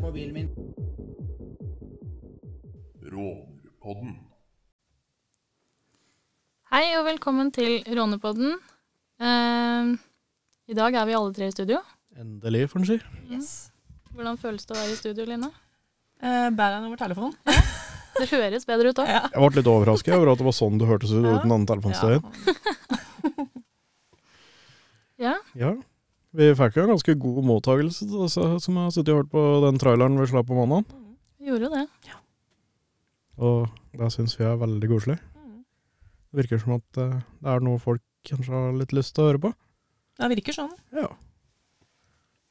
mobilen min. Rånerpodden. Hei og velkommen til Rånepodden. Eh, I dag er vi alle tre i studio. Endelig, får en si. Yes. Hvordan føles det å være i studio, Line? Uh, bærer han over telefon? Det høres bedre ut òg. Ja. Jeg ble litt overrasket over at det var sånn det hørtes ut Ja. uten annen telefonstøy. Ja. Ja. Vi fikk jo en ganske god mottagelse til disse som har sittet og hørt på den traileren vi slapp på mandag. Vi gjorde jo det. Og det syns vi er veldig koselig. Mm. Det virker som at eh, det er noe folk kanskje har litt lyst til å høre på. Det virker sånn. Ja.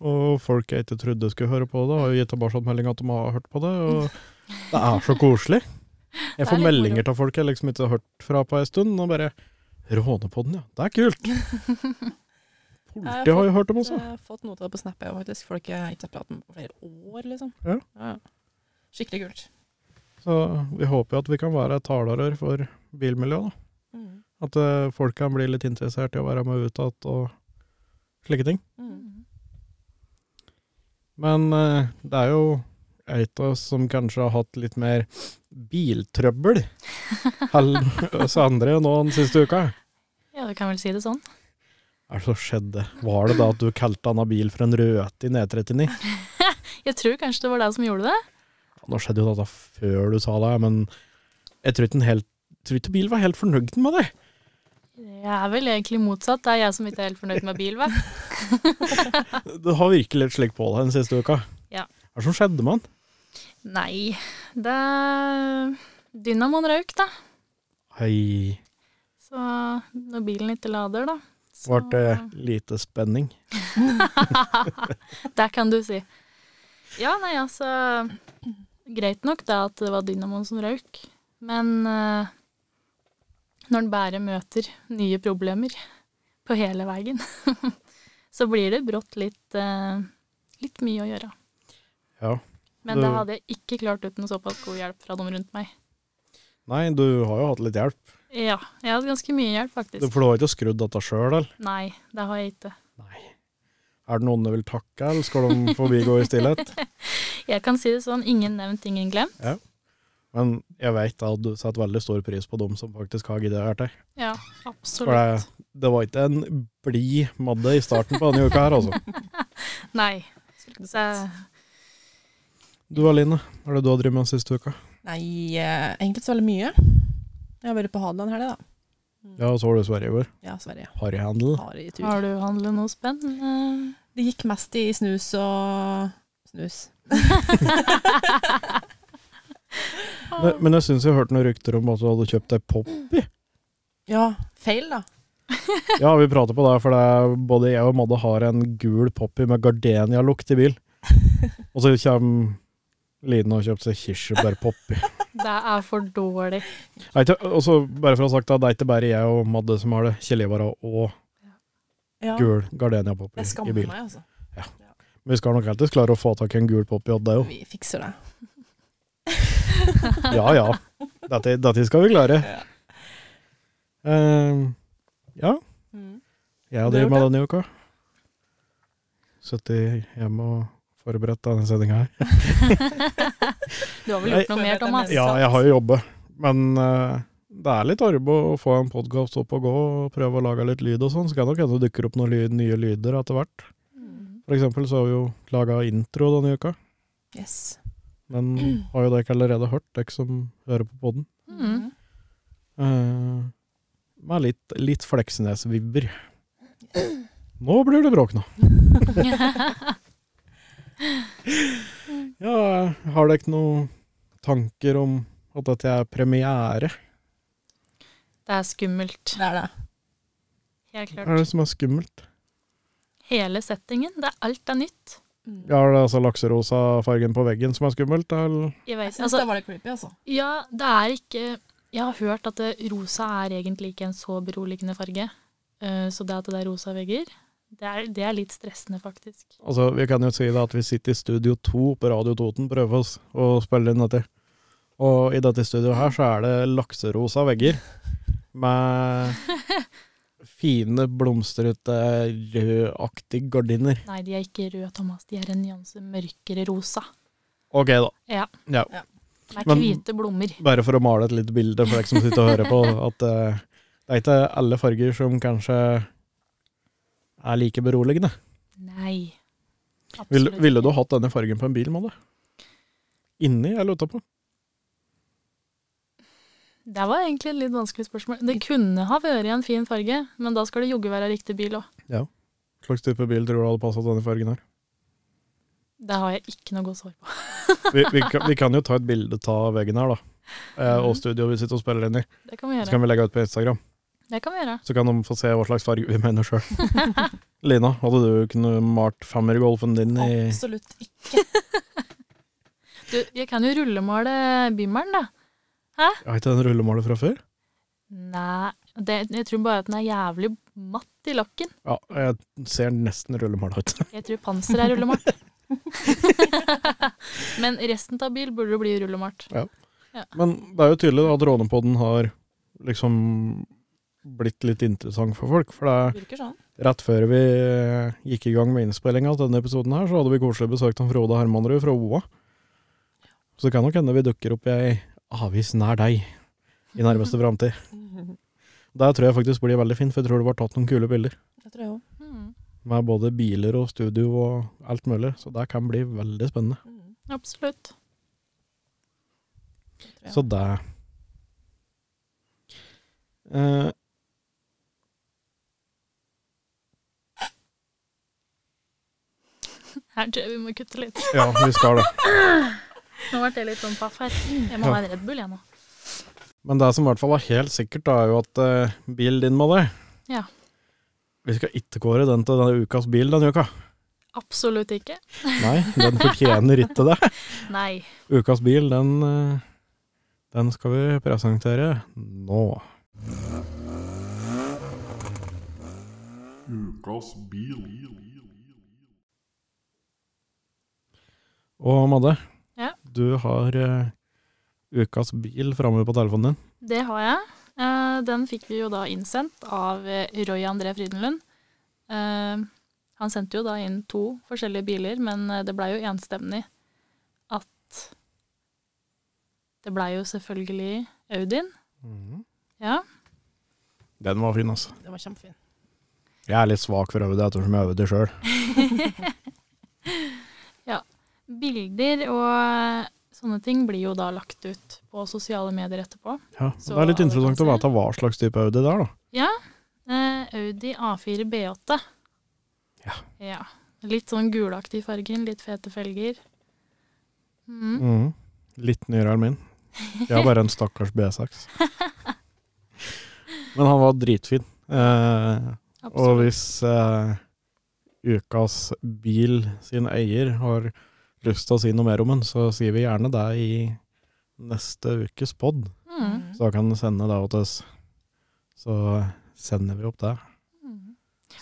Og folk jeg ikke trodde skulle høre på det, har jo gitt tilbakemelding at de har hørt på det. Og det er så koselig. Det Jeg er får litt meldinger av folk jeg liksom ikke har hørt fra på ei stund, og bare 'Rånepodden, ja. Det er kult!' Politiet har jo hørt om oss, Jeg da. har fått noe av det på Snap, jeg òg, faktisk. Folk jeg ikke har pratet med på flere år, liksom. Ja. Skikkelig kult. Så vi håper jo at vi kan være et talerør for bilmiljøet, da. Mm. At eh, folk kan bli litt interessert i å være med utad og slike ting. Mm. Men eh, det er jo et av oss som kanskje har hatt litt mer biltrøbbel enn oss andre nå den siste uka. Ja, du kan vel si det sånn. Hva er det som skjedde? Var det da at du kalte annen bil for en rødhette i E39? Jeg tror kanskje det var deg som gjorde det. Ja, Nå skjedde jo dette før du sa det, men jeg tror ikke, den helt, tror ikke bilen var helt fornøyd med det. Jeg er vel egentlig motsatt. Det er jeg som ikke er helt fornøyd med bil, vel. Du har virkelig litt slik på deg den siste uka. Ja. Hva er det som skjedde med den? Nei, det Dynamoen røyk, da. Hei, Så når bilen ikke lader, da så- ble det lite spenning? Der kan du si. Ja, nei, altså Greit nok det at det var dynamoen som røyk, men eh, når den bare møter nye problemer på hele veien, så blir det brått litt, eh, litt mye å gjøre. Ja. Men det hadde jeg ikke klart uten såpass god hjelp fra de rundt meg. Nei, du har jo hatt litt hjelp. Ja, jeg hadde ganske mye hjelp, Du, faktisk. for du har ikke skrudd dette sjøl, eller? Nei, det har jeg ikke. Er det noen du vil takke, eller skal de forbigå i stillhet? Jeg kan si det sånn, ingen nevnt, ingen glemt. Men jeg vet at du setter veldig stor pris på dem som faktisk har giddet å gjøre det. Ja, For det, absolutt. det var ikke en blid Madde i starten på denne uka her, altså. Nei, Skulle ikke du så... sett. Du Aline, hva er det du har drevet med den siste uka? Nei, eh, egentlig ikke så veldig mye. Jeg har vært på Hadeland her, det, Ja, så var du i Sverige i går. da. Ja, Sverige. Harryhandel. Har i tur. Har du handlet noe spennende? Det gikk mest i snus og snus. Men, men jeg syns jeg hørte noen rykter om at du hadde kjøpt deg pop. Ja, feil, da. Ja, vi prater på det, for det er, både jeg og Madde har en gul poppy med gardenialukt i bil. Og så kommer Line og har kjøpt seg kirsebærpoppy. Det er for dårlig. Det er ikke- Og så, bare for å ha sagt det, det er ikke bare jeg og Madde som har det. Kjell Ivar har òg Ja. gul gardeniapoppy Jeg i skammer bil. meg, altså. Men vi skal nok alltids klare å få tak i en gul poppy og det jo. Vi fikser det. Ja, ja. Dette, dette skal vi klare. Eh, ja, Mm. jeg har Du har drevet med denne uka. Sittet hjemme og forberedt denne sendinga her. Du har vel Nei. gjort noe mer, Thomas? Ja, jeg har jo jobbet, men eh, det er litt arbeid å få en podkast opp og gå og prøve å lage litt lyd og sånn. Så kan det nok hende det dukker opp noen lyd, nye lyder etter hvert. Mm. For eksempel så har vi jo laga intro denne uka. Yes. Den har jo dere allerede hørt, dere som hører på poden. Mm. Eh, med litt, litt Fleksnes-vibber. Nå blir det bråk nå. ja, har dere noen tanker om at dette er premiere? Det er skummelt. Det er det. Helt Hva er klart. det som er skummelt? Hele settingen. Det er alt er nytt. Mm. Ja, er det altså lakserosa fargen på veggen som er skummelt? Eller? Jeg Jeg vet. syns Altså, det var litt creepy, altså. ja, det er ikke Jeg har hørt at det, rosa er egentlig ikke en så beroligende farge. Eh, Så det at det er rosa vegger, det er, det er litt stressende, faktisk. Altså, vi kan jo si det at vi sitter i Studio 2 på Radio Toten, prøver oss å spille inn dette. Og i dette studioet her så er det lakserosa vegger med fine, blomstrete, rødaktige gardiner. Nei, de er ikke røde, Thomas. De er en nyanse mørkere rosa. Ok, da. Ja. Ja. Det er Men- hvite blommer. Bare for å male et lite bilde for deg som sitter og hører på, at eh, det er ikke alle farger som kanskje er like beroligende. Nei. Vil, Absolutt ville du ikke. hatt denne fargen på en bil, Madde? Inni eller utapå? Det var egentlig et litt vanskelig spørsmål. Det kunne ha vært en fin farge, men da skal det jogge være riktig bil òg. Hva slags type bil tror du hadde passet denne fargen her? Det har jeg ikke noe godt svar på. Vi, vi, kan, vi kan jo ta et bilde av veggen her, da. Eh, og studioet vi sitter og spiller inn i. Det kan vi Så gjøre. kan vi legge ut på Instagram. Det kan vi gjøre. Så kan de få se hva slags farge vi mener sjøl. Lina, hadde du kunne malt femmergolfen din i Absolutt ikke. Du, jeg kan jo rullemale bimmeren, da. Er ikke den rullemaler fra før? Nei, det, jeg tror bare at den er jævlig matt i lakken. Ja, jeg ser nesten rullemaler ut. Jeg tror panser er rullemalt. Men resten av bil burde jo bli rullemalt. Men det er jo tydelig da at Rånepodden har liksom blitt litt interessant for folk. For det er Virker sånn. rett før vi eh, gikk i gang med innspillinga av denne episoden her, så hadde vi koselig besøk av Frode Hermanrud fra OA. Så det kan nok hende vi dukker opp i ei avis nær deg i nærmeste framtid. Der tror jeg faktisk blir veldig fint, for jeg tror det var tatt noen kule bilder. Det tror jeg òg. Mm, Med både biler og studio og alt mulig, så det kan bli veldig spennende. Mm, absolutt. det tror jeg. Så det eh, Her tror jeg vi må kutte litt. Ja, vi skal det. Nå ble jeg litt sånn paff her. Jeg må ha en Red Bull, jeg nå. Men det som i hvert fall er helt sikkert, da, er jo at eh, bilen din, Madde Ja. Vi skal ikke kåre den til denne ukas bil denne uka. Absolutt ikke. Nei, den fortjener ikke det. Nei. Ukas bil, den, eh, den skal vi presentere nå. Ukas bil. Og Madde, Ja. du har eh, ukas bil framme på telefonen din. Det har jeg. Eh, Den fikk vi jo da innsendt av eh, Roy André Frydenlund. Eh, Han sendte jo da inn to forskjellige biler, men eh, det blei jo enstemmig at Det blei jo selvfølgelig Audien. Ja. Mhm. Den var fin, altså. Den var kjempefin. Jeg er litt svak for Audi ettersom jeg er Audi sjøl. Bilder og eh, sånne ting blir jo da lagt ut på sosiale medier etterpå. Ja, Så det er litt alle interessant å kan se. vite hva slags type Audi det er, da. Eh, Audi A4 B8. Ja. Litt sånn gulaktig i fargen, litt fete felger. Mm. Mhm. Litt nyere enn min. Jeg har bare en stakkars B6. Men han var dritfin. Eh, og Absolutt. hvis eh, ukas bil sin eier har lyst til å si noe mer om den, så sier vi gjerne det i neste ukes pod. Mm. Mm. Så kan du sende det til oss. Så sender vi opp det. Mm.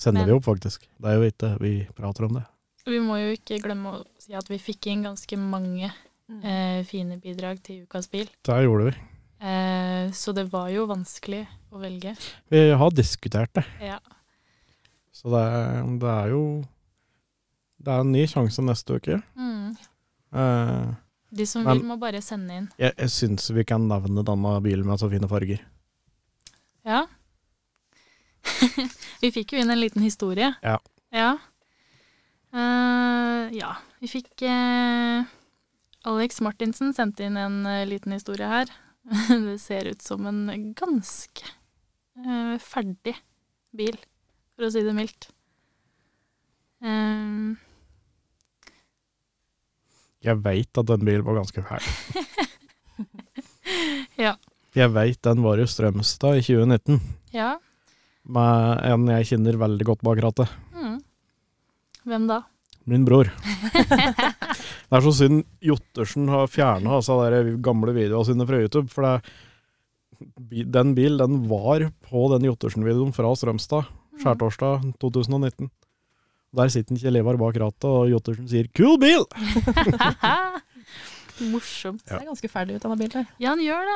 Sender Men- vi opp, faktisk. Det er jo ikke vi prater om det. Vi må jo ikke glemme å si at vi fikk inn ganske mange Mm. eh, fine bidrag til Ukas bil. Det gjorde vi. Eh, så det var jo vanskelig å velge. Vi har diskutert det. Ja, Så det, er- det er jo Det er en ny sjanse neste uke. mm. Eh, De som Men- vil, må bare sende inn. jeg jeg syns vi kan nevne denne bilen med så fine farger. Ja. vi fikk jo inn en liten historie. Ja. Ja. Eh, ja. Vi fikk eh, Alex Martinsen sendte inn en eh, liten historie her. det ser ut som en ganske eh, ferdig bil, for å si det mildt. Eh, Jeg veit at den bilen var ganske fæl. Ja. Jeg veit den var i Strømstad i 2019, ja. med en jeg kjenner veldig godt bak rattet. Mm. Hvem da? Min bror. det er så synd Jottersen har fjerna altså, de gamle videoene sine fra YouTube. For det, bi- den bilen den var på den Jottersen-videoen fra Strømstad, Mm. skjærtorsdag 2019. Der sitter Kjell Ivar bak rattet, og Jottersen sier 'kul bil'! Morsom. Så det er ganske ferdig ut, denne bilen her. Ja, han gjør det.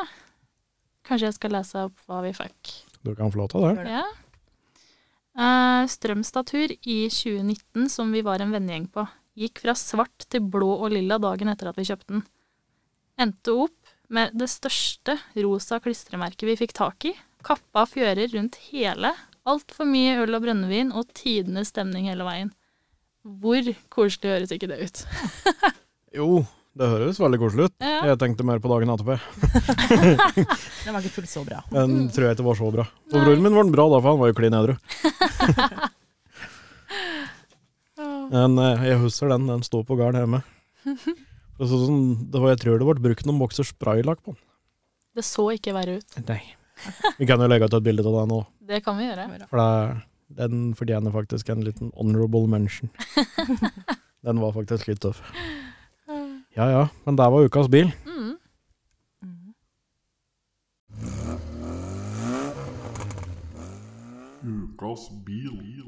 Kanskje jeg skal lese opp hva vi fikk. Du kan få lov til det. Gjør det. Ja. Eh, Strømstad-tur i 2019 som vi var en vennegjeng på. Gikk fra svart til blå og lilla dagen etter at vi kjøpte den. Endte opp med det største rosa klistremerket vi fikk tak i. Kappa fjører rundt hele. Altfor mye øl og brennevin og tidenes stemning hele veien. Hvor koselig høres ikke det ut? Jo, det høres veldig koselig ut. Ja, Jeg tenkte mer på dagen etterpå. Den var ikke fullt så bra. Den tror jeg ikke var så bra. Og Mm. Nei. broren min var den bra da, for han var jo klin edru. Men eh, jeg husker den, den står på garden hjemme. Og så, sånn, det var, jeg tror det ble brukt noen bokser spraylakk på det så ikke verre ut. den. Nei. Vi kan jo legge ut et bilde av den nå, Det kan vi gjøre. for det, den fortjener faktisk en liten honorable mention. Den var faktisk litt tøff. Ja ja, men der var ukas bil. Mm. Mm. Ukas bil.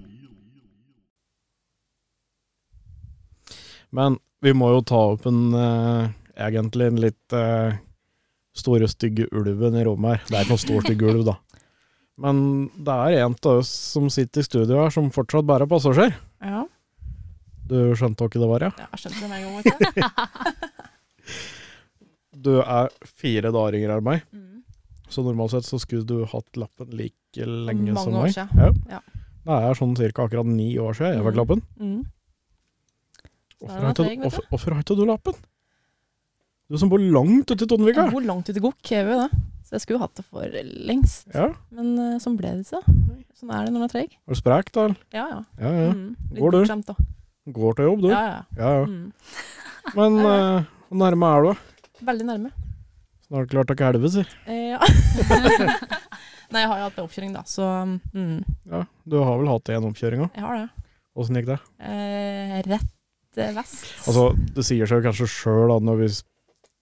Men vi må jo ta opp en eh, egentlig en litt eh, store, stygge ulven i rommet her. Det er ikke noen stor, stygg ulv, da. Men det er en av oss som sitter i studio her, som fortsatt bare er passasjer. Ja, Du skjønte hva det var, ja? jeg skjønte det med en gang. Ikke? Du er fire dager yngre enn meg, Mm. så normalt sett så skulle du hatt lappen like lenge Mange som år meg. siden. Ja. Det er sånn cirka akkurat ni år siden jeg fikk Mm. lappen. Mm. Da Hvorfor er har det ikke- deg, vet du. Hvorfor hvorfor har ikke du lappen? Du som bor langt ute i Tonvika. Jeg bor langt ute i Gokk, jeg gjør jo det. Så jeg skulle jo hatt det for lengst. Ja, Men eh, sånn ble det ikke. Sånn er det når man er treg. er du sprek, da? eller? Ja, ja. Ja, ja. Mm. Litt Går du? bortskjemt, da. Går til jobb, du. Ja, ja. Ja, ja. Mm. Men eh, hvor nærme er du? Veldig nærme. Snart klart takk helvete, sier. Eh, ja. Nei, jeg har jo hatt oppkjøring, da, så mm, Ja, du har vel hatt en oppkjøring òg? jeg har det. Åssen gikk det? Eh, rett eh, vest. Altså, det sier seg jo kanskje sjøl når vi s-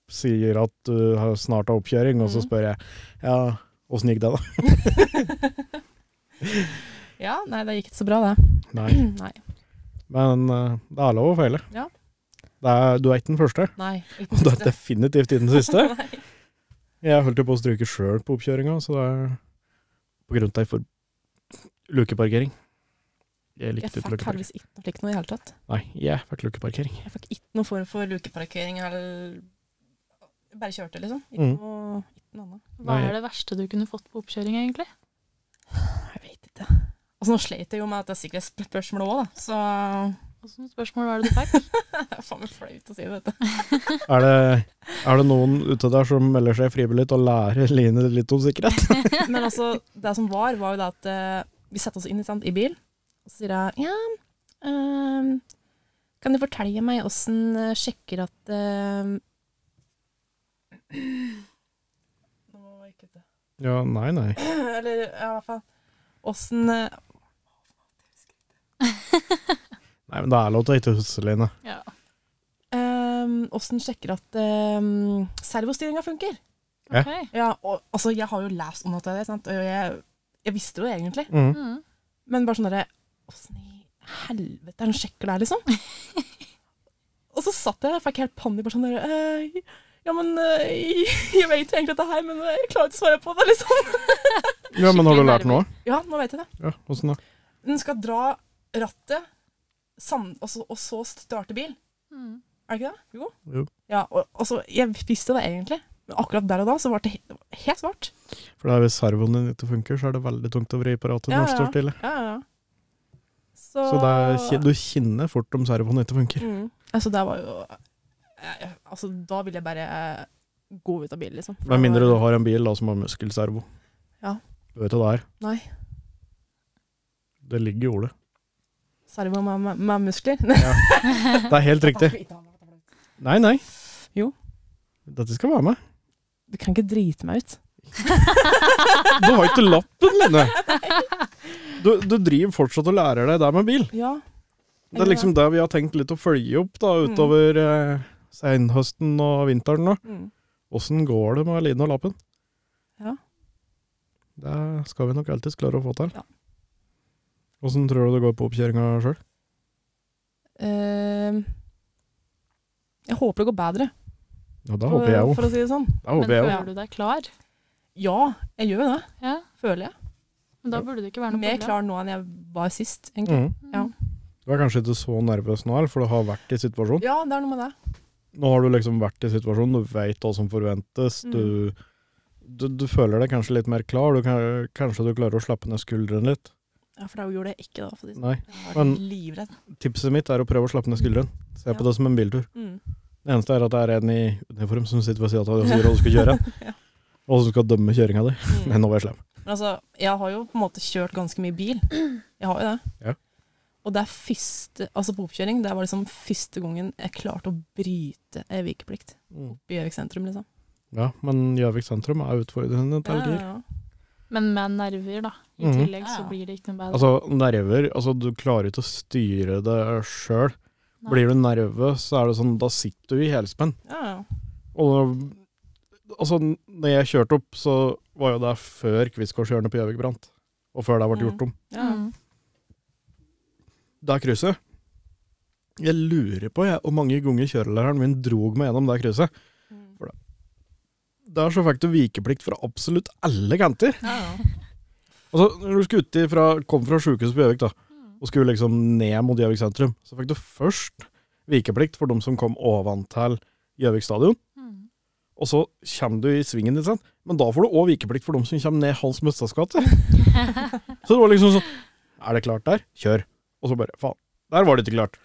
sier at du har snart har oppkjøring, og så Mhm. spør jeg ja, åssen gikk det, da? ja, nei, det gikk ikke så bra, det. Nei. nei. Men eh, det er lov å feile. Ja. Det er, du er ikke den første, nei. og du er definitivt ikke den siste. Jeg holdt jo på å stryke sjøl på oppkjøringa, så det er på grunn av ei for lukeparkering. Jeg Jeg likte fikk ikke lukeparkering. heldigvis ikke noe slikt noe i det hele tatt. Nei, jeg fikk lukeparkering. Jeg fikk ikke noen form for lukeparkering eller Bare kjørte, liksom. Ikke Mm. noe, ikke noe annet. Hva Nei. er det verste du kunne fått på oppkjøring, egentlig? Jeg vet ikke. Altså, nå sleit jeg jo med dette sikkerhetsspørsmålet òg, da, så Hva slags spørsmål var det du fikk? det er faen meg flaut å si det, vet du. Er det, er det noen ute der som melder seg frivillig til å lære Line litt om sikkerhet? Men altså, det som var, var jo det at eh, vi setter oss inn ikke sant, i bil, og så sier jeg ja, ehm, kan du fortelle meg åssen eh, sjekker at ehm, Nå må jeg kutte. Ja, nei, nei. Eller ja, i hvert fall eh, Åssen Nei, men Det er lov til å ikke huske, Line. Ja. Åssen eh, sjekker at um, servostyringa funker? Ja. Ok. Ja, og, altså, jeg har jo lest om dette, sant? og jeg, jeg visste jo det egentlig. Mm. Mm. Men bare sånn derre Åssen i helvete er den sjekker der, liksom? og så satt jeg og fikk helt panikk. Bare sånn derre «Eh, Ja, men eh, jeg vet jo egentlig dette her, men jeg klarer ikke å svare på det, liksom. Ja, Men har du lært noe? ja, nå vet jeg det. Ja, åssen da? Den skal dra rattet, sam, og, så, og så starte bil. Mm. Er det ikke det? Jo. Jo. Ja, og, og så, jeg visste det egentlig, men akkurat der og da så ble det he- det var helt svart. For det er hvis servoen din ikke funker, så er det veldig tungt å vri på rattet Ja, når det ja. står stille. Ja, ja, ja. Så, Så det er, ki- du kjenner fort om servoen ikke funker. Mm. Altså, det var jo eh, Altså, da ville jeg bare eh, gå ut av bilen, liksom. Med mindre du har en bil da som har muskelservo. Ja. Du vet hva det er? Nei. Det ligger i ordet. Servo med, med, med muskler. Det er helt riktig. Nei, nei. Jo. Dette skal være med. Du kan ikke drite meg ut. Du har ikke lappen, Line! Du, du driver fortsatt og lærer deg det med bil. Ja. Det er liksom det vi har tenkt litt å følge opp da, Mm. utover eh, senhøsten og vinteren. nå. Mm. Åssen går det med Line og Lappen? Ja. Det skal vi nok alltids klare å få til. Ja. Åssen tror du det går på oppkjøringa sjøl? Eh, jeg håper det går bedre, Ja, det for, håper jeg òg. for å si det sånn. Det Men håper jeg føler òg. du deg klar? Ja, jeg gjør jo det, Ja. føler jeg. Men da burde det ikke være noe Mer problem. klar nå enn jeg var sist, egentlig. Mm. ja. Du er kanskje ikke så nervøs nå, eller, for du har vært i situasjonen. Ja, det er noe med det. Nå har du liksom vært i situasjonen, du veit hva som forventes. Mm. Du, du, du føler deg kanskje litt mer klar. Du kan, kanskje du klarer å slappe ned skuldrene litt. Ja, For det gjorde jeg ikke, da. For å si det sånn. Nei. jeg var men- livredd. Tipset mitt er å prøve å slappe ned skuldrene. Se på Ja. det som en biltur. Mm. Det eneste er at det er en i uniform som sitter ved sida av deg og sier hva du skal kjøre, Ja. og som skal dømme kjøringa di. Mm. Men nå var jeg slem. Men altså, jeg har jo på en måte kjørt ganske mye bil. Jeg har jo det. Ja. Og det er første, altså på oppkjøring, det var liksom første gangen jeg klarte å bryte ei vikeplikt i Gjøvik sentrum, liksom. Mm. Ja, men Gjøvik sentrum er utfordrende til gir. ja. Men med nerver, da. I Mhm. tillegg så Ja. blir det ikke noe bedre. Altså, nerver Altså, du klarer ikke å styre det sjøl. Nei. Blir du nervøs, så er det sånn Da sitter du i helspenn. Ja, ja. Og altså, når jeg kjørte opp, så var jo det før Kvistgårdshjørnet på Gjøvik brant. Og før det ble Mhm. gjort om. ja. Mm. Det krysset Jeg lurer på jeg, hvor mange ganger kjørelæreren min drog meg gjennom det krysset. Mm. Der så fikk du vikeplikt fra absolutt alle kanter. ja, ja. Altså, når du skulle ut ifra, kom fra sjukehuset på Gjøvik, da, Mm. og skulle liksom ned mot Gjøvik sentrum, så fikk du først vikeplikt for de som kom oventil Gjøvik stadion. Mm. Og så kommer du i svingen, ikke sant? men da får du òg vikeplikt for dem som kommer ned Hans Møstads gate. så det var liksom sånn Er det klart der? Kjør. Og så bare Faen, der var det ikke klart.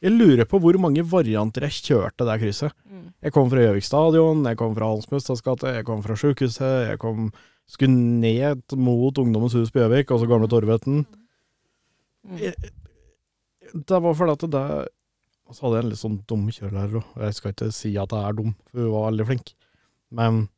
Jeg lurer på hvor mange varianter jeg kjørte det krysset. Mm. Jeg kom fra Gjøvik stadion, jeg kom fra Hans Mustads gate, jeg kom fra sjukehuset, jeg kom skulle ned mot Ungdommens hus på Gjøvik, altså gamle Torvetten. Mm. Jeg- Det Eh, var fordi at det Og så hadde jeg en litt sånn dum kjørelærer òg. Jeg skal ikke si at jeg er dum, for hun var veldig flink. Men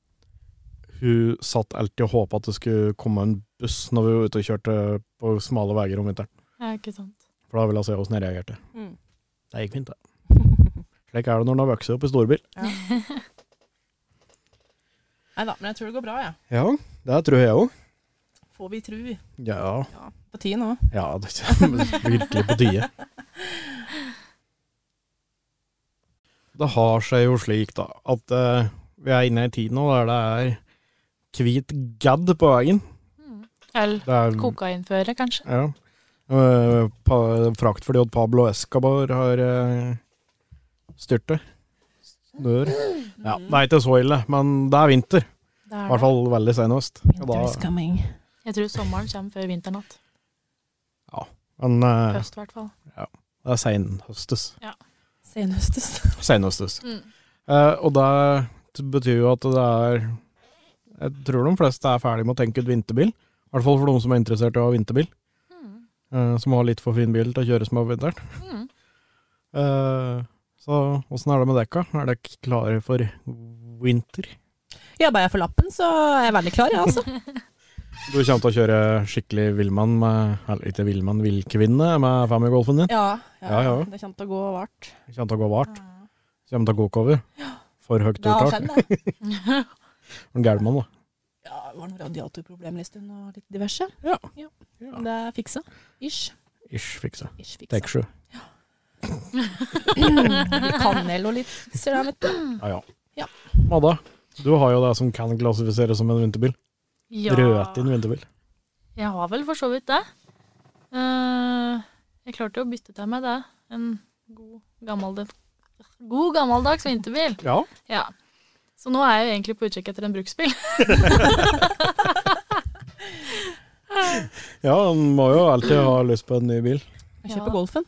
hun satt alltid og håpa at det skulle komme en buss når vi var ute og kjørte på smale veier om vinteren. Ja, ikke sant. For da ville hun se åssen jeg reagerte. Mm. Det gikk fint, det. Slik er det når en har vokst opp i storbil. Nei da, men jeg tror det går bra, jeg. Ja, det tror jeg òg. Får vi tru. Ja. Ja. På tide nå. Ja, det kommer virkelig på tide. Det har seg jo slik, da, at eh, vi er inne i en tid nå der det er hvit gadd på veien. Mm. Eller Det er, kokainføre, kanskje. ja. Eh, pa, frakt fordi at Pablo Escobar har eh, styrtet. Dør. Ja, det er ikke så ille, men det er vinter. Det I er hvert det. fall veldig sen høst. Og da- Winter is coming. Jeg tror sommeren kommer før vinteren igjen. Men eh, Høst, i hvert fall. det er senhøstes. Senhøstes. Senhøstes. Mm. Eh, og det t- betyr jo at det er Jeg tror de fleste er ferdig med å tenke ut vinterbil. I hvert fall for de som er interessert i å ha vinterbil. Mm. eh, som har litt for fin bil til å kjøre som er vinteren. Mm. Eh, så åssen er det med dekka? Er dere klare for vinter? Jobber jeg for lappen, så er jeg veldig klar, jeg, altså. Du kommer til å kjøre skikkelig villmann med Eller ikke villmann, villkvinne med Famigolfen din. Ja, Ja, ja. Det kommer til å gå vart. Kommer til å gå vart. Kommer til å gå over. For høyt Det har uttak. skjedd, det. En Gærmann, da. Ja, det var noen radiatorproblemer en stund, og litt diverse. Ja. Men Det er fiksa. Ish. Ish, fikse. Ish fiksa. Tek sju. litt kanel og litt ceramic. Ja, ja. Ja. Madda, du har jo det som kan klassifiseres som en vinterbil. Ja. Rødtinn vinterbil. Jeg har vel for så vidt det. Eh, jeg klarte jo å bytte til meg det. En god, gammeldags, god gammeldags vinterbil. Ja. Ja. Så nå er jeg jo egentlig på utkikk etter en bruksbil. ja, en må jo alltid ha lyst på en ny bil. Jeg kjøper Golfen.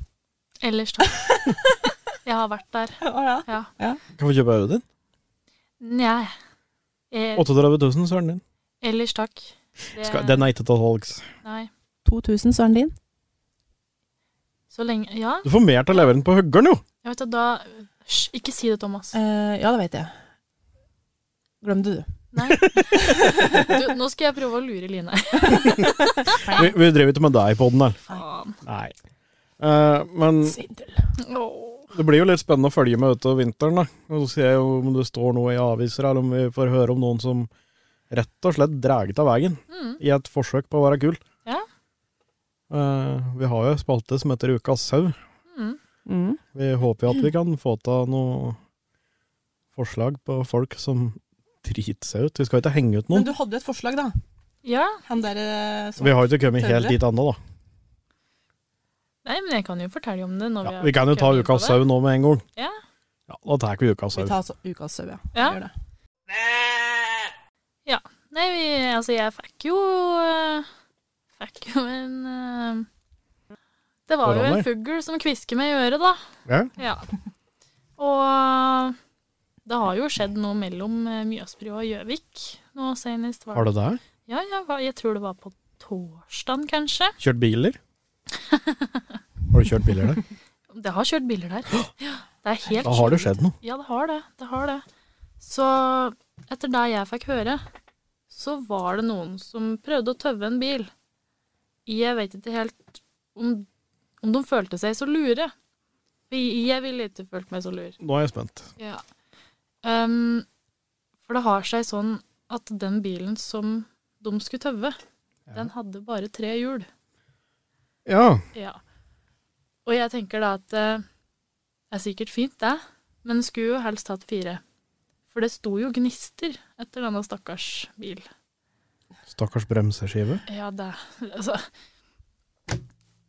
Ellers da. Jeg har vært der. Ja, Ja. Kan få kjøpe Audien. Nei. Eh, 38 000, søren din. ellers takk. Det- Skal, den er ikke til salgs. Nei. 2000, så er den din. Så lenge Ja, Du får mer til å levere den på høggeren, jo! jeg vet at da Hysj, ikke si det, Thomas. Eh, ja, det vet jeg. Glem det, du. Nei. Du, nå skal jeg prøve å lure Line. Vi, vi driver ikke med deg på den, her. Faen. Nei. Eh, men Svindel. Åh. det blir jo litt spennende å følge med utover vinteren. da. Og så ser jeg jo om det står noe i aviser, eller om vi får høre om noen som rett og slett drar av veien Mm. i et forsøk på å være kul. Ja. Eh, vi har jo en spalte som heter Ukas sau. Mm. Mm. Vi håper jo at vi kan få til noe forslag på folk som driter seg ut. Vi skal ikke henge ut Men noen. du hadde jo et forslag, da. Ja. Han der eh, som Vi har jo ikke kommet helt Tømre. dit ennå, da. Nei, men jeg kan jo fortelle om det. Når Ja, har vi kan jo ta kommet inn på det. ukas sau nå med en gang. Ja. Ja, Da tar vi ukas Vi sau. tar altså ukas sau, ja. Ja. Gjør det. Nei, vi, altså jeg fikk jo eh, Fikk jo en eh, Det var jo Koroner? en fugl som kvisker meg i øret, da. Ja. Ja. Og det har jo skjedd noe mellom eh, Mjøsbrua og Gjøvik nå senest. Var Har du det? Ja, jeg, var, jeg tror det var på torsdagen, kanskje. Kjørt biler? Har du kjørt biler der? Det har kjørt biler der. Ja, det er helt Da har det sjukt. skjedd noe. Ja, det har det. Det har det. Så etter det jeg fikk høre, så var det noen som prøvde å tøve en bil. Jeg vet ikke helt om, om de følte seg så lure. Vi- Jeg ville ikke følt meg så lur. Nå er jeg spent. Ja. Um, for det har seg sånn at den bilen som de skulle tøve, den hadde bare tre hjul. Ja. Ja. Og jeg tenker da at eh, det er sikkert fint, det, men skulle jo helst hatt fire. For det sto jo gnister etter denne stakkars bil. Stakkars bremseskive. Ja, det Altså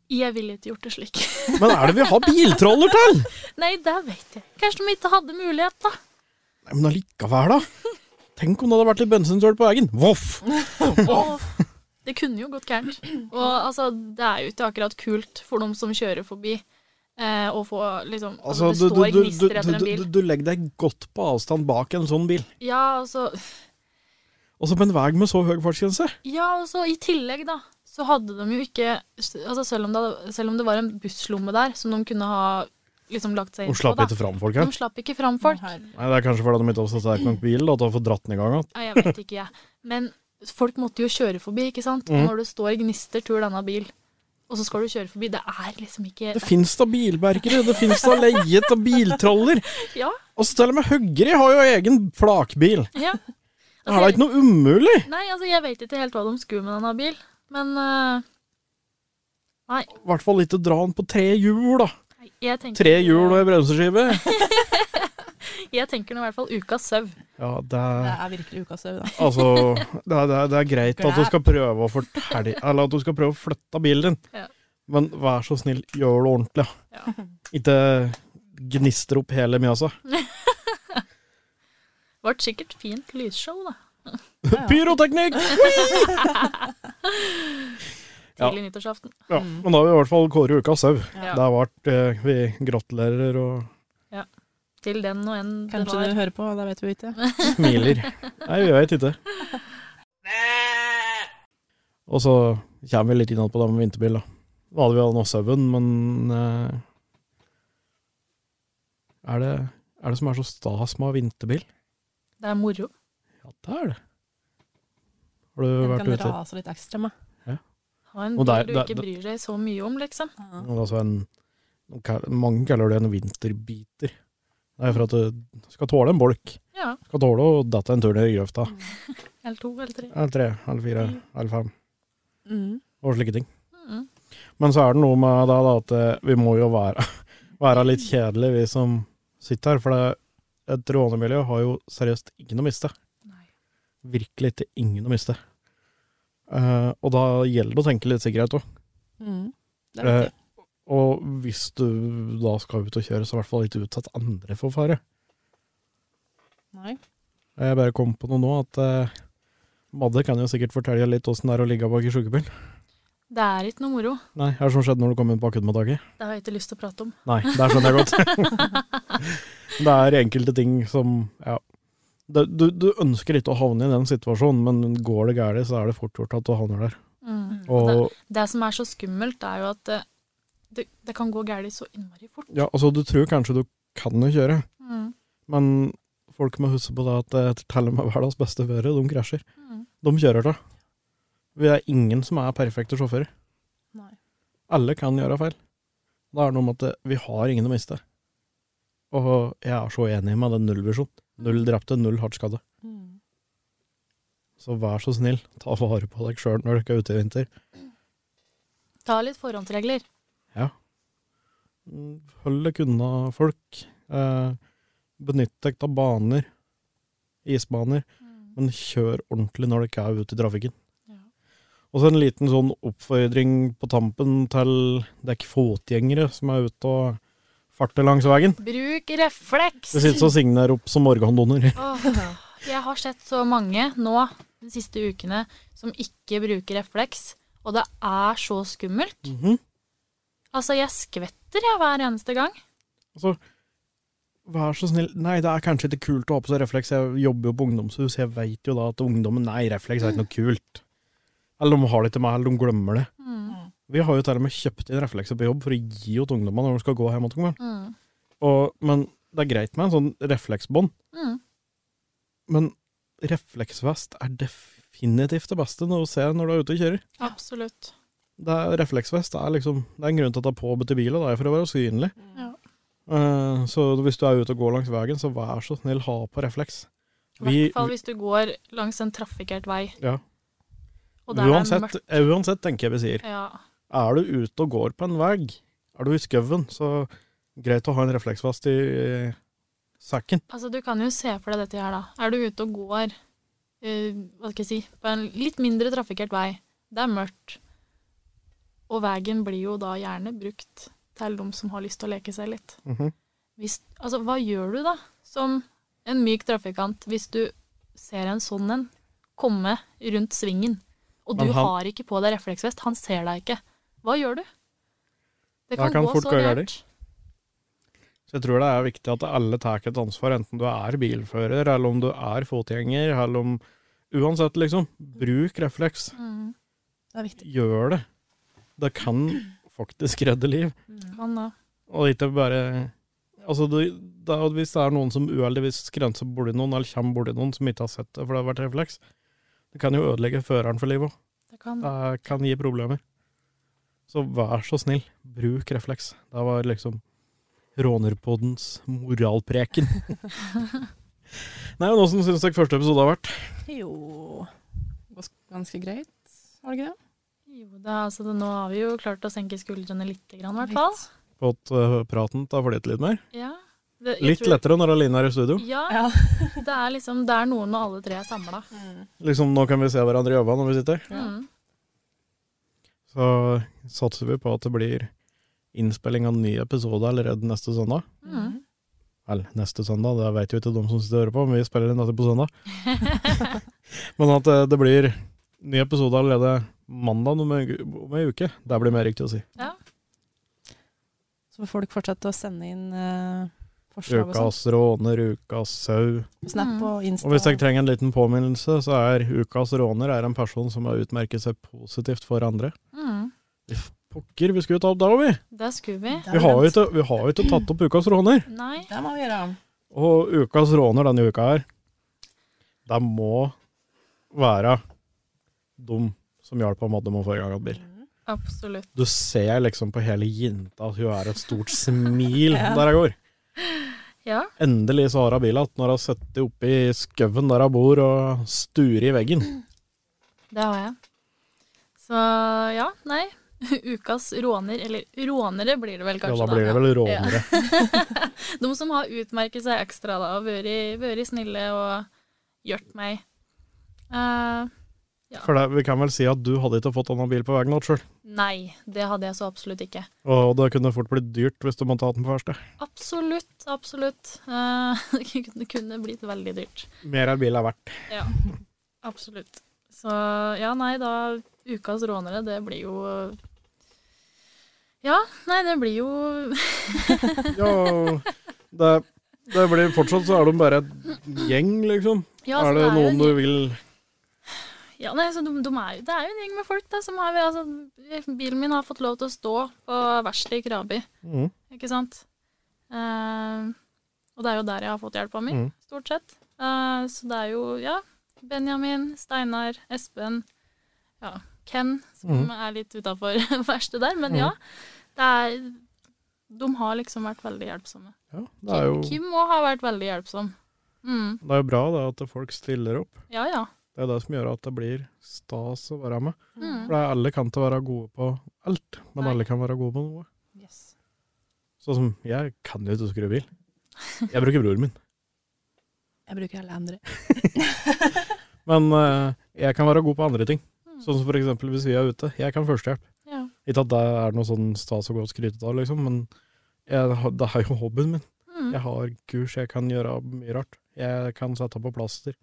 Jeg ville ikke gjort det slik. Men er det vi har biltroller til? Nei, det vet jeg. Kanskje de ikke hadde mulighet, da. Nei, men allikevel, da. Tenk om det hadde vært litt bensinsøl på veien. Voff! Og det kunne jo gått gærent. Og altså, det er jo ikke akkurat kult for dem som kjører forbi. Eh, å få liksom Altså, altså, Det du, du, står du, du, gnister du, etter en du, bil. du legger deg godt på avstand bak en sånn bil. Ja, altså Og så på en vei med så høy fartsgrense. Ja, og så i tillegg da, så hadde de jo ikke altså selv, om det, selv om det var en busslomme der, som de kunne ha liksom lagt seg inn Og slapp på da. ikke fram folk her. De slapp ikke fram folk. Her. Nei, Det er kanskje fordi de ikke har så sterk nok bil da, til å få dratt den i gang igjen. Ja, jeg vet ikke, jeg. Men folk måtte jo kjøre forbi, ikke sant? Og Mm. Når det står gnister tur denne bil, og så skal du kjøre forbi, det er liksom ikke... Det fins da bilberkere, det fins da leiet av biltroller. Ja, Og så til og med Høgri har jo egen flakbil. ja. Det Altså, er da ikke noe umulig? Nei, altså jeg vet ikke helt hva de skulle med denne bil, men eh, I hvert fall ikke dra den på tre hjul, da. nei, jeg tenker... Tre hjul og ei bremseskive. Jeg tenker nå i hvert fall ukas søv. Ja, det Det er er virkelig ukas sau, da. Altså, det er, det er, det er greit at du skal prøve å fortelle Eller at du skal prøve å flytte bilen din, Ja. men vær så snill, gjør det ordentlig. da. Ikke gnister opp hele Mjøsa. Det ble sikkert fint lysshow da, Ja, ja. Pyroteknikk! Ja. tidlig nyttårsaften. Ja, men da har vi i hvert fall kåret ukas sau. Ja. Det har vært eh, Vi gratulerer og Til den og en det Kanskje var. du hører på, da vet vi ikke. smiler. Nei, vi veit ikke. Og så kommer vi litt inn på det med vinterbil, da. Nå hadde vi hatt noe sauen, men eh, er, det, er det som er så stas med å ha vinterbil? Det er moro. Ja, det er det. Har du Den vært kan ute rase litt ekstra med. Ha en Og bil der- du der- ikke der- bryr deg så mye om, liksom. altså en, noen kall- Mange kaller det en vinterbiter. Det er for at du skal tåle en bolk. Ja. Skal tåle å dette en tur ned i grøfta. Eller to eller tre. Eller tre, eller fire, eller fem. Mm. Og slike ting. Mm. Men så er det noe med det da, at eh, vi må jo være, være litt kjedelige, vi som sitter her. For det, et rånemiljø har jo seriøst ingen å miste. Nei. Virkelig ikke ingen å miste. Eh, og da gjelder det å tenke litt sikkerhet òg. Eh, Mm. Det er viktig. Og hvis du da skal ut og kjøre, så i hvert fall ikke utsatt andre for fare. Nei. Jeg bare kom på noe nå, at eh, Madde kan jo sikkert fortelle litt åssen det er å ligge bak i sjukebil. Det er ikke noe moro. Nei, hva er det som skjedde når du kom inn på akuttmottaket? Det har jeg ikke lyst til å prate om. Nei, sånn der skjønner jeg godt. det er enkelte ting som Ja. Det, du, du ønsker ikke å havne i den situasjonen, men går det galt, så er det fort gjort at du havner der. Mm. Og Det som er så skummelt, er jo at eh, det, det kan gå galt så innmari fort. ja, altså, du tror kanskje du kan jo kjøre, Mm. men folk må huske på det at eh, til og med verdens beste førere, de krasjer. Mm. De kjører til. Vi er ingen som er perfekte sjåfører. Nei. Alle kan gjøre feil. Da er det noe med at eh, vi har ingen å miste. Og jeg er så enig med den nullvisjonen. Null drepte, null hardt skadde. Mm. Så vær så snill, ta vare på deg sjøl når dere er ute i vinter. Ta litt forhåndsregler. Mm, Hold dere unna folk. Eh, benytt dere av baner, isbaner, men kjør ordentlig når dere er ute i trafikken. Ja. Og så en liten sånn oppfordring på tampen til dekk fotgjengere som er ute og farter langs veien. Bruk refleks! Det sitter og signer opp som morgendoner. Åh, jeg har sett så mange nå de siste ukene som ikke bruker refleks, og det er så skummelt. Mhm. Altså, jeg skvetter jeg hver eneste gang. Vær så snill. Nei, det er kanskje ikke kult å ha på seg refleks. Jeg jobber jo på ungdomshus, jeg veit jo da at ungdommen Nei, refleks er ikke noe kult. Eller de har det ikke med, eller de glemmer det. Mm. Vi har jo til og med kjøpt inn reflekser på jobb for å gi til ungdommene når de skal gå hjem. til ungdommen. Mm. Og, men det er greit med en sånn refleksbånd, Mm. men refleksvest er definitivt det beste når du ser når du er ute og kjører. Absolutt. Det er refleksvest det er liksom, det er en grunn til at det er påbudt i bilen, det er for å være synlig. Ja. Eh, så hvis du er ute og går langs veien, så vær så snill, ha på refleks. I Vi- hvert fall hvis du går langs en trafikkert vei. Ja. Og der er det uansett, mørkt. eh, uansett, tenker jeg vi sier. Ja. Er du ute og går på en vei, er du i skauen, så greit å ha en refleksvest i eh, sekken. Altså, du kan jo se for deg dette her, da. Er du ute og går eh, hva skal jeg si, på en litt mindre trafikkert vei, det er mørkt, og veien blir jo da gjerne brukt til de som har lyst til å leke seg litt. Mhm. Hvis, altså, hva gjør du da, som en myk trafikant, hvis du ser en sånn en komme rundt svingen, og du Men han- har ikke på deg refleksvest, han ser deg ikke. Hva gjør du? Det Da kan, kan gå fort så gå galt. gærent. Så jeg tror det er viktig at alle tar et ansvar, enten du er bilfører, eller om du er fotgjenger, eller om Uansett, liksom. Bruk refleks. Mm, Det er viktig. Gjør det. Det kan faktisk redde liv. kan da. Og ikke bare Altså, det, det er, hvis det er noen som uheldigvis skrenser borti noen, eller kommer borti noen som ikke har sett det, for det har vært refleks, det kan jo ødelegge føreren for livet òg. Det kan. Det eh, kan gi problemer. Så vær så snill, bruk refleks. Det var liksom rånerpoddens moralpreken. Nei, men Åssen syns dere første episode har vært? Jo Gans- Ganske greit, var det ikke det? Jo, da, altså, det, nå har vi jo klart å senke skuldrene litt, i hvert fall. Litt. Fått eh, praten til å flyte litt mer? Ja. Det, jeg Litt tror- lettere når Aline er i studio. Ja, Ja. det er liksom det er noe med alle tre samla. Liksom Nå kan vi se hverandre i øynene når vi sitter. Ja. Mm. Så satser vi på at det blir innspilling av en ny episode allerede neste søndag. Mm. Vel, neste søndag, det vet jo ikke de som sitter og hører på, men vi spiller inn dette på søndag. men at eh, det blir ny episode allerede mandag om en, om en uke, det blir mer riktig å si. Så får folk fortsette å sende inn eh, forslag og sånt. Ukas råner, ukas sau. På Snap Mm. og Insta. Og hvis dere trenger en liten påminnelse, så er ukas råner er en person som har utmerket seg positivt for andre. Mm. Pokker, vi skulle jo ta opp det òg, vi! Det skulle vi. Det er Vi har jo glemt. ikke, vi har jo ikke tatt opp ukas råner. Nei. Det må vi gjøre. Og ukas råner denne uka her, det må være dem som hjalp Madde med å få i gang en bil. Absolutt. Du ser liksom på hele jenta at hun er et stort smil Ja. der hun går. Ja. Endelig så har hun bil igjen når hun sitter oppe i skauen der hun bor og sturer i veggen. Det har jeg. Så ja, nei. Ukas råner, eller rånere blir det vel Ja, kanskje, da blir det vel rånere. De som har utmerket seg ekstra da, og vært vært snille og hjulpet meg. Eh, For det, vi kan vel si at du hadde ikke fått annen bil på veien igjen sjøl. nei, det hadde jeg så absolutt ikke. Og det kunne fort blitt dyrt hvis du måtte ha den på verksted. Absolutt, absolutt. Eh, det kunne- kunne blitt veldig dyrt. Mer er bilen verdt. Ja, absolutt. Så ja, nei, da Ukas rånere, det blir jo Ja, nei, det blir jo Ja, det, det blir fortsatt så er de bare et gjeng, liksom. ja, er altså, jo det, en- noen du vil Ja, nei, så de, de er, jo- Det er jo en gjeng med folk, da, som har altså, Bilen min har fått lov til å stå på verkstedet i Krabi, mm. ikke sant? Eh, og det er jo der jeg har fått hjelpa mi, Mm. stort sett. Eh, så det er jo, ja Benjamin, Steinar, Espen, ja, Ken, som Mm. er litt utafor verkstedet der, men Mm. ja. Det er De har liksom vært veldig hjelpsomme. Ja, det er jo, Kim òg har vært veldig hjelpsom. Mm. det er jo bra det at folk stiller opp. Ja, ja. Det er det som gjør at det blir stas å være med. Mm. For det er alle kan ikke være gode på alt, men Nei. alle kan være gode på noe. Yes. Sånn som jeg kan jo ikke skru bil. Jeg bruker broren min. Jeg bruker alle andre. Men eh, jeg kan være god på andre ting. Mm. Sånn som for eksempel hvis vi er ute. Jeg kan førstehjelp. Ja. Ikke at det er noe sånn stas å gå og skryte av, liksom, men jeg, har- det er jo hobbyen min. Mm. Jeg har kurs, jeg kan gjøre mye rart. Jeg kan sette på plaster.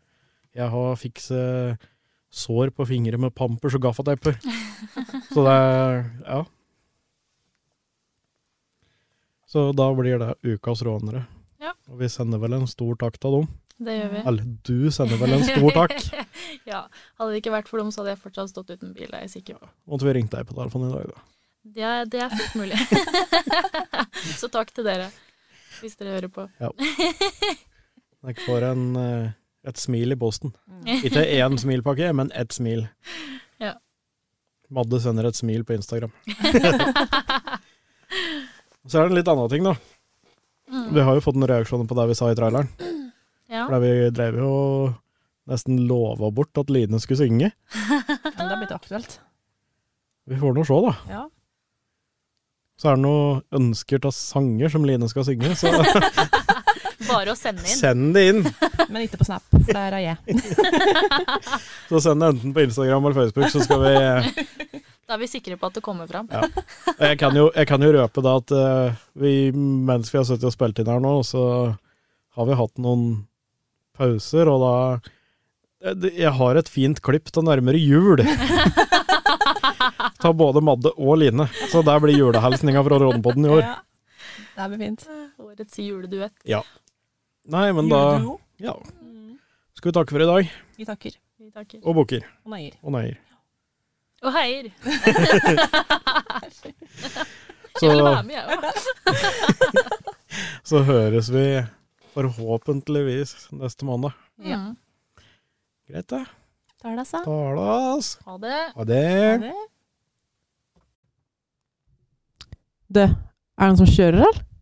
Jeg har fikse sår på fingre med pampers og gaffateiper. Så det er Ja. Så da blir det ukas rånere. Ja. Og vi sender vel en stor takk til dem. Det gjør vi. Eller du sender vel en stor takk. ja. Hadde det ikke vært for dem, så hadde jeg fortsatt stått uten bil. er jeg sikker på. Måtte vi ringt deg på telefonen i dag, da. Det er, det er fullt mulig. så takk til dere, hvis dere hører på. Jeg får en, eh, et smil i posten. Mm. Ikke én smilpakke, men ett smil. Ja. Madde sender et smil på Instagram. Så er det en litt annen ting, da. Mm. Vi har jo fått noen reaksjoner på det vi sa i traileren. Ja. For vi drev jo og nesten lova bort at Line skulle synge. Men det er blitt aktuelt. Vi får nå se, da. Ja. Så er det noen ønsker til sanger som Line skal synge, så Bare å sende inn. send det inn! Men ikke på Snap, for der er jeg. Så send det enten på Instagram eller Facebook, så skal vi Da er vi sikre på at det kommer fram. Og Jeg kan jo, jeg kan jo røpe da at eh, vi, mens vi har sittet og spilt inn her nå, så har vi hatt noen pauser, og da Eh, det- Jeg har et fint klipp til nærmere jul. Ta både Madde og Line. Så der blir julehilsninga fra Rånepodden i år. Ja. Det blir fint. Årets juleduett. Nei, men da Juleduo. ja. Mm. Skal vi takke for i dag? Vi takker Vi takker. Og booker. og nøyer. Og neier. Og heier! Jeg ville Så, være med, jeg òg. så høres vi forhåpentligvis neste måned. Ja. Mm. Greit, det. Tar det seg. Talas. Ha det. Ha det. det. Det, er det noen som kjører, eller?